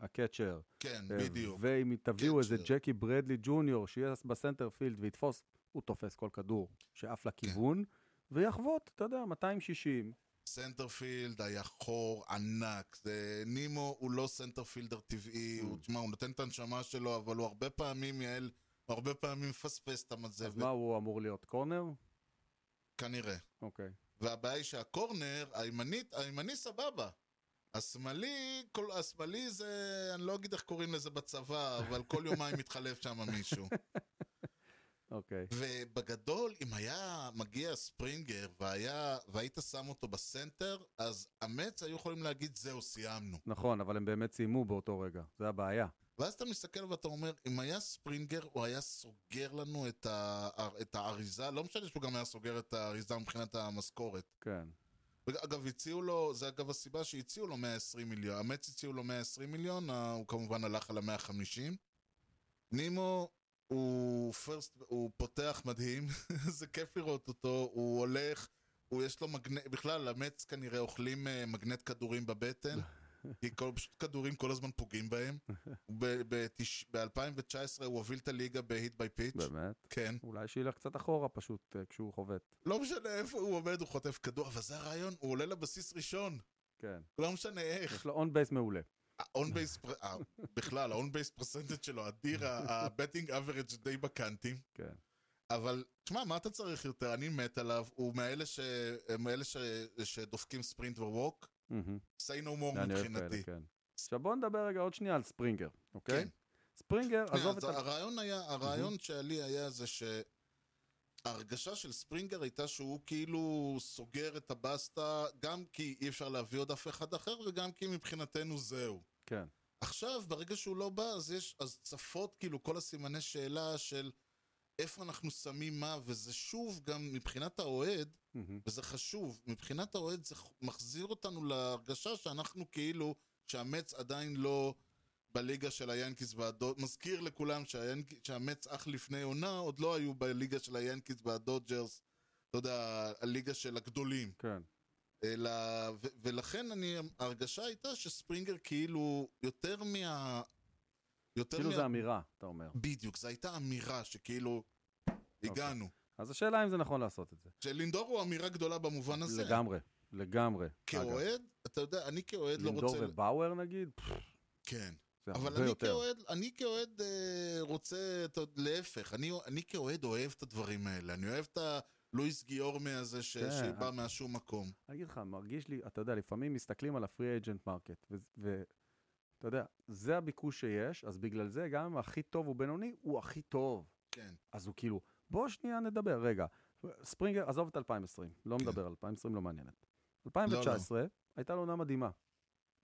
הקאצ'ר, כן, אה, בדיוק. ואם תביאו איזה קצ'ר. ג'קי ברדלי ג'וניור, שיהיה בסנטר פילד ויתפוס, הוא תופס כל כדור שעף לכיוון, כן. ויחבוט, אתה יודע, 260. סנטרפילד היה חור ענק. זה, נימו הוא לא סנטרפילדר טבעי, הוא, Mm. תשמע, הוא נותן את הנשמה שלו, אבל הוא הרבה פעמים, יעל, הוא הרבה פעמים מפספס את אז המצבת, מה, הוא אמור להיות קורנר? כנראה. אוקיי. והבעיה היא שהקורנר, הימנית, הימני סבבה. השמאלי, כל, השמאלי זה, אני לא אגיד איך קוראים לזה בצבא, אבל כל יומיים מתחלף שם מישהו. אוקיי. ובגדול, אם היה מגיע ספרינגר והיה, והיית שם אותו בסנטר, אז המץ היו יכולים להגיד, זהו, סיימנו. נכון, אבל הם באמת סיימו באותו רגע, זה הבעיה. ואז אתה מסתכל ואתה אומר, אם היה ספרינגר, הוא היה סוגר לנו את, ה... את האריזה, לא משנה שהוא גם היה סוגר את האריזה מבחינת המשכורת. כן. אגב, הציעו לו, זה אגב הסיבה שהציעו לו 120 מיליון. המץ הציעו לו 120 מיליון, ה- הוא כמובן הלך על ה-150. נימו הוא פרסט, הוא פותח מדהים, זה כיף לראות אותו, הוא הולך, הוא יש לו מגנט, בכלל, המץ כנראה אוכלים אה, מגנט כדורים בבטן. כי כל, פשוט כדורים כל הזמן פוגעים בהם. ב-2019 הוא הוביל את הליגה בהיט ביי פיץ'. באמת. כן. אולי שילך קצת אחורה פשוט אה, כשהוא חובט. לא משנה איפה הוא עומד, הוא חוטף כדור, אבל זה הרעיון, הוא עולה לבסיס ראשון. כן. לא משנה איך. יש לו און בייס מעולה. ה-on base, פר- אה, בכלל, ה-on base percentage שלו אדיר, ה-betting average די בקאנטים. כן. אבל, תשמע, מה אתה צריך יותר? אני מת עליו, הוא מאלה, ש... מאלה ש... שדופקים ספרינט וווק. מהמם. say no more אני אוהב כאלה, מבחינתי. כן. עכשיו בואו נדבר רגע עוד שנייה על ספרינגר, אוקיי? כן. ספרינגר, עזוב עזוב את ה... הרעיון היה, הרעיון שלי היה זה שההרגשה של ספרינגר הייתה שהוא כאילו סוגר את הבסטה, גם כי אי אפשר להביא עוד אף אחד אחר, וגם כי מבחינתנו זהו. כן. עכשיו, ברגע שהוא לא בא, אז יש, אז צפות כאילו כל הסימני שאלה של איפה אנחנו שמים מה, וזה שוב גם מבחינת האוהד, מהמם. וזה חשוב, מבחינת האוהד זה ח- מחזיר אותנו להרגשה שאנחנו כאילו, שהמץ עדיין לא בליגה של היאנקיס והדוד... מזכיר לכולם שהיאנק... שהמץ אך לפני עונה עוד לא היו בליגה של היאנקיס והדודג'רס, לא יודע, הליגה של הגדולים. כן. אלא... ו- ולכן אני... ההרגשה הייתה שספרינגר כאילו יותר מה... יותר כאילו מה... זה אמירה, אתה אומר. בדיוק, זו הייתה אמירה שכאילו אוקיי. הגענו. אז השאלה אם זה נכון לעשות את זה. שלינדור הוא אמירה גדולה במובן הזה. לגמרי, לגמרי. אגב, כאוהד, אתה יודע, אני כאוהד לא לינדור רוצה... ובאואר נגיד? פפ, כן. זה אבל הרבה אני יותר. כאוהד, אני כאוהד אה, רוצה, אתה יודע, להפך, אני, אני כאוהד אוהב את הדברים האלה, אני אוהב את הלואיס גיאורמי הזה ש, כן, שבא אה. מהשום מקום. אני אגיד לך, מרגיש לי, אתה יודע, לפעמים מסתכלים על הפרי אג'נט מרקט, ואתה יודע, זה הביקוש שיש, אז בגלל זה גם הכי טוב הוא בינוני, הוא הכי טוב. כן, אז הוא כאילו, בוא שנייה נדבר, רגע. ספרינגר, עזוב את 2020, לא כן. מדבר על 2020, לא מעניינת. 2019, הייתה לו עונה מדהימה.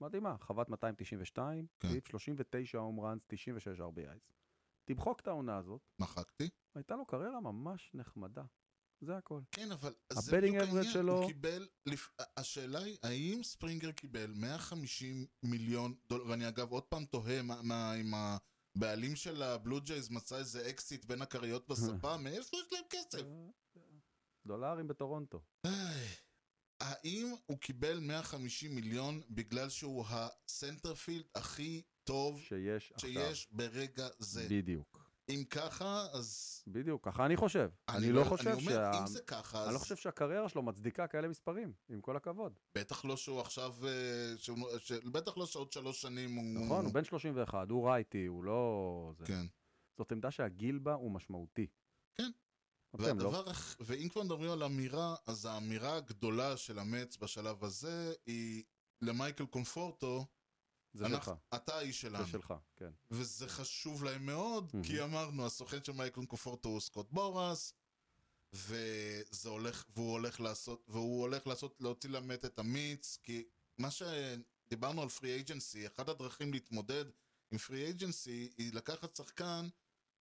מדהימה, חוות 292, כן. סעיף 39 הום ראנס, 96 RBIs. תמחוק את העונה הזאת, מחקתי. הייתה לו קריירה ממש נחמדה. זה הכל. כן, אבל זה ה-betting בדיוק average העניין, שלו- הוא קיבל, לפ... השאלה היא, האם ספרינגר קיבל 150 מיליון דולר, ואני אגב עוד פעם תוהה מה, מה, אם הבעלים של הבלו ג'ייז מצא איזה אקזיט בין הכריות בספה, מאיפה יש להם כסף? דולרים בטורונטו. איי, האם הוא קיבל 150 מיליון בגלל שהוא הסנטרפילד הכי טוב שיש עכשיו. שיש ברגע זה? בדיוק. אם ככה, אז... בדיוק, ככה אני חושב. אני לא חושב אני אומר, שה... אם זה ככה, אני אז לא חושב שהקריירה שלו מצדיקה כאלה מספרים, עם כל הכבוד. בטח לא שהוא עכשיו... אה, שהוא- ש- בטח לא שעוד שלוש שנים הוא... נכון, הוא בן 31, הוא רייטי, הוא לא... זה. אה. כן. זאת עמדה שהגיל בה הוא משמעותי. כן. אתם לא. והדבר, הכ- ואם כבר מדברים על אמירה, אז האמירה הגדולה של המץ בשלב הזה היא למייקל קומפורטו, זה שלך. אנחנו- אתה האיש שלנו. זה שלך, כן. וזה חשוב להם מאוד, Mhm. כי אמרנו, הסוכן של מייקל קופורטו הוא סקוט בורס, וזה הולך, והוא הולך לעשות, והוא הולך לעשות, להוציא למת את המיץ, כי מה שדיברנו על פרי אייג'נסי, אחת הדרכים להתמודד עם פרי אייג'נסי, היא לקחת שחקן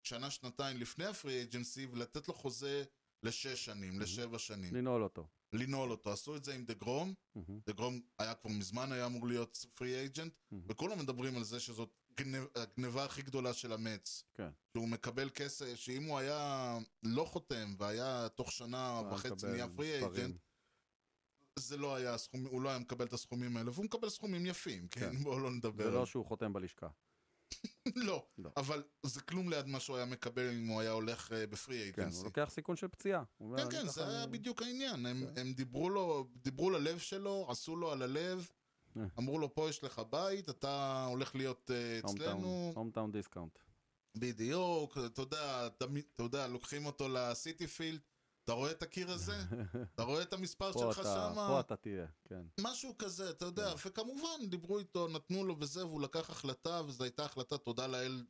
שנה, שנתיים לפני הפרי אייג'נסי, ולתת לו חוזה לשש שנים, לשבע שנים. לנעול אותו. לנעול אותו. עשו את זה עם דה גרום, מהמם. דה גרום היה כבר מזמן, היה אמור להיות פרי אייג'נט, Mhm. וכולם מדברים על זה שזאת גנב, הגניבה הכי גדולה של המץ. כן. שהוא מקבל כסף, שאם הוא היה לא חותם, והיה תוך שנה אתה וחצי מקבל נהיה פרי מספרים. אייג'נט, זה לא היה הסכום, הוא לא היה מקבל את הסכומים האלה, והוא מקבל סכומים יפים, כן? כן. בואו לא נדבר. זה על- לא שהוא חותם בלשכה. כן, לא, לא. אבל זה כלום ליד מה שהוא היה מקבל אם הוא היה הולך אה, בפרי כן, אייג'נסי. הוא לוקח סיכון של פציעה. הוא אומר, כן. כן, לא, אני כן, ככה- זה היה בדיוק העניין. הם, הם דיברו לו, דיברו ללב שלו, עשו לו על הלב, אה. אמרו לו, פה יש לך בית, אתה הולך להיות אה, אצלנו. הומטאון דיסקאונט. בדיוק, אתה יודע, תמיד- אתה יודע, לוקחים אותו לסיטי פילד, אתה רואה את הקיר הזה? אתה רואה את המספר פה שלך אתה- שמה? פה אתה תהיה, כן. משהו כזה, אתה יודע, וכמובן, דיברו איתו, נתנו לו וזה, והוא לקח החלטה, וזו הייתה החלטה, תודה לאל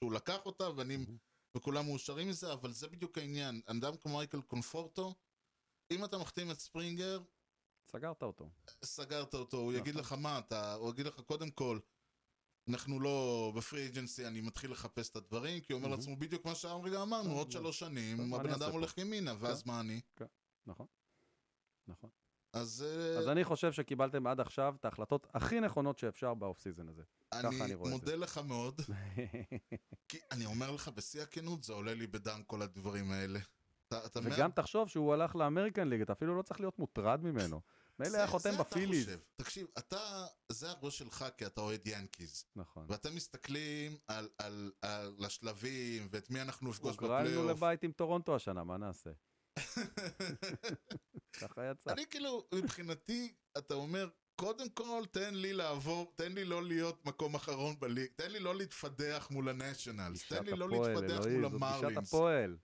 שהוא לקח אותה, ואני, וכולם מאושרים מזה, אבל זה בדיוק העניין. אדם כמו מייקל קונפורטו, אם אתה מחתים את ספרינגר, סגרת אותו. סגרת אותו, הוא נכון. יגיד לך מה אתה, הוא יגיד לך קודם כל, אנחנו לא בפרי אג'נסי, אני מתחיל לחפש את הדברים, כי הוא אומר Mhm. לעצמו בדיוק מה שהרגע אמרנו, עוד שלוש מה שנים, אני הבן אעשה אדם פה? כן. הולך ימינה, ואז מה אני? נכון. נכון. אז, אה, אז אני חושב שקיבלתם עד עכשיו את ההחלטות הכי נכונות שאפשר באוף סיזן הזה. ככה אני רואה את מודה לך מאוד, כי אני אומר לך בשיא הכנות, זה עולה לי בדם כל הדברים האלה. אתה, אתה וגם תחשוב שהוא הלך לאמריקן ליג, אתה אפילו לא צריך להיות מוטרד ממנו. מילא היה חותם בפיליז. תקשיב, אתה, זה הראש שלך כי אתה אוהד ינקיז. נכון. ואתם מסתכלים על, על, על השלבים ואת מי אנחנו נפגוש הוגרלנו בפלייאוף. לבית עם טורונטו השנה, מה נעשה? ככה יצא. אני כאילו, מבחינתי, אתה אומר, קודם כל תן לי לעבור, תן לי לא להיות מקום אחרון בליג, תן לי לא להתפדח מול הנשיונלס, גישת תן לי לא הפועל, להתפדח אלוהים, מול זאת גישת המרלינס. הפועל,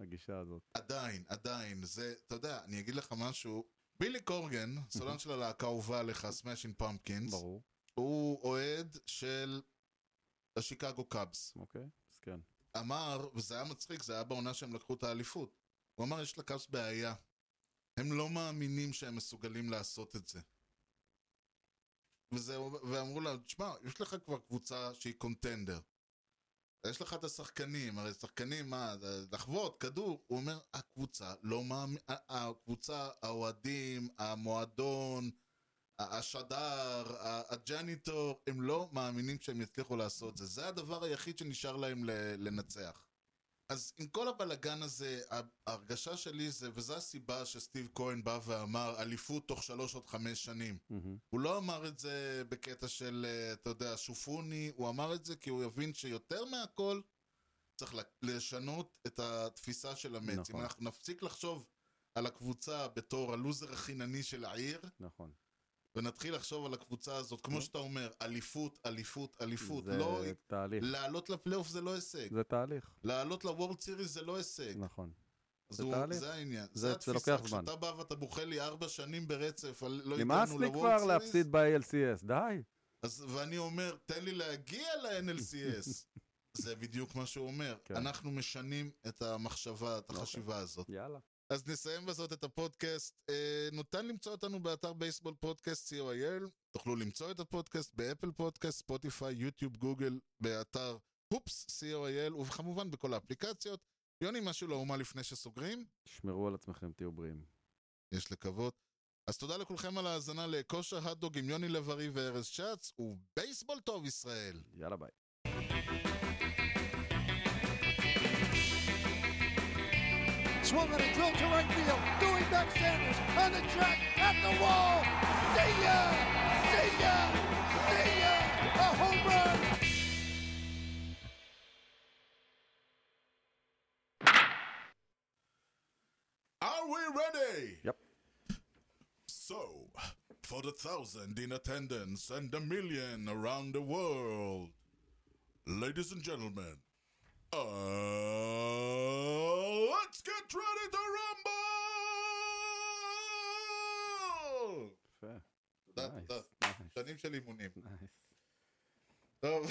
הגישה הזאת. עדיין, עדיין, זה, אתה יודע, אני אגיד לך משהו, בילי קורגן, סולן של הלהקה האהובה עליך, סמאשין פמפקינס, ברור, הוא אוהד של השיקגו קאבס. אוקיי, אז כן. אמר, וזה היה מצחיק, זה היה בעונה שהם לקחו את האליפות. הוא אמר, יש לקאבס בעיה. הם לא מאמינים שהם מסוגלים לעשות את זה. וזה, ואמרו לה, תשמע, יש לך כבר קבוצה שהיא קונטנדר. יש לך את השחקנים, הרי שחקנים, מה, זה לחבוט, כדור. הוא אומר, הקבוצה לא מאמין, הקבוצה, האוהדים, המועדון, ה- השדר, ה- הג'ניטור, הם לא מאמינים שהם יצליחו לעשות זה. זה הדבר היחיד שנשאר להם ל- לנצח. אז עם כל הבלגן הזה, ה- ההרגשה שלי זה, וזו הסיבה שסטיב כהן בא ואמר, אליפות תוך שלוש עוד חמש שנים. מהמם. הוא לא אמר את זה בקטע של, אה, אתה יודע, שופוני, הוא אמר את זה כי הוא הבין שיותר מהכל צריך ל- לשנות את התפיסה של המץ. נכון. נכון. אם אנחנו נפסיק לחשוב על הקבוצה בתור הלוזר החינני של העיר, נכון. ונתחיל לחשוב על הקבוצה הזאת, כמו שאתה אומר, אליפות, אליפות, אליפות. אוקיי. זה לא, תהליך, לעלות לפלייאוף זה לא הישג. זה תהליך, לעלות לוורד סיריס זה לא הישג. נכון. אז זה הוא- תהליך. זה העניין. זה- זה זה התפיסה. לוקח זמן. כשאתה בא ואתה בוכה לי ארבע שנים ברצף, על לא נמאס הגענו לי לוורד כבר סיריס, להפסיד ב-ALCS, די. אז, ואני אומר, תן לי להגיע ל-NLCS. זה בדיוק מה שהוא אומר. כן. אנחנו משנים את המחשבה, את אוקיי. החשיבה הזאת. יאללה. אז נסיים בזאת את הפודקאסט. אה, ניתן למצוא אותנו באתר בייסבול פודקאסט co.il. תוכלו למצוא את הפודקאסט באפל פודקאסט, ספוטיפיי, יוטיוב, גוגל, באתר הופס co.il, וכמובן בכל האפליקציות. יוני, משהו לאומה לפני שסוגרים? תשמרו על עצמכם, תהיו בריאים. יש לקוות. אז תודה לכולכם על ההאזנה לכושר הדוג עם יוני לב-ארי וארז שץ, ובייסבול טוב ישראל! יאללה ביי. Swung on a drill to right field. Doing back Sanders on the track at the wall. See ya! See ya! See ya! A home run! Are we ready? Yep. So, for the thousand in attendance and the million around the world, ladies and gentlemen, uh, let's get ready to rumble! יפה. תודה, Nice, תודה. nice, שנים של אימונים. nice. טוב,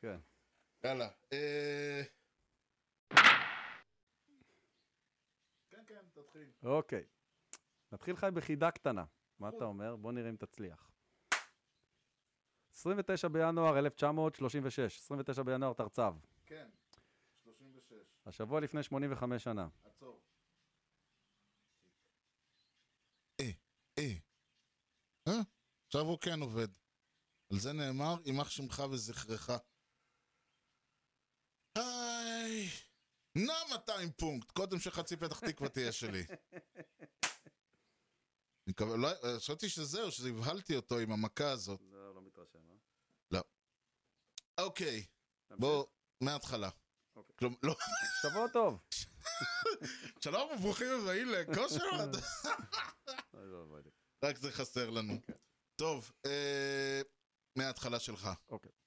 כן. יאללה. אה, כן, כן, תתחיל. אוקיי. נתחיל לך בחידה קטנה. מה אתה אומר? בוא נראה אם תצליח. 29 בינואר 1936, 29 בינואר תרצב. כן, 36. השבוע לפני 85 שנה. עצור. אה, אה. אה, עכשיו הוא כן עובד. על זה נאמר, ימח שמך וזכרך. היי, נע 200 פונקט, קודם שחצי פתח תקווה תהיה שלי. אני מקווה- לא, אה, חשבתי שזהו, שהבהלתי אותו עם המכה הזאת. לא, לא מתרשם, אה? אוקיי, תמשיך. בוא, מההתחלה. אוקיי. כלום- לא, שבוע טוב. שלום וברוכים הבאים לכושר. אוי, לא, לא יודע. רק זה חסר לנו. טוב, אה, מההתחלה שלך. אוקיי.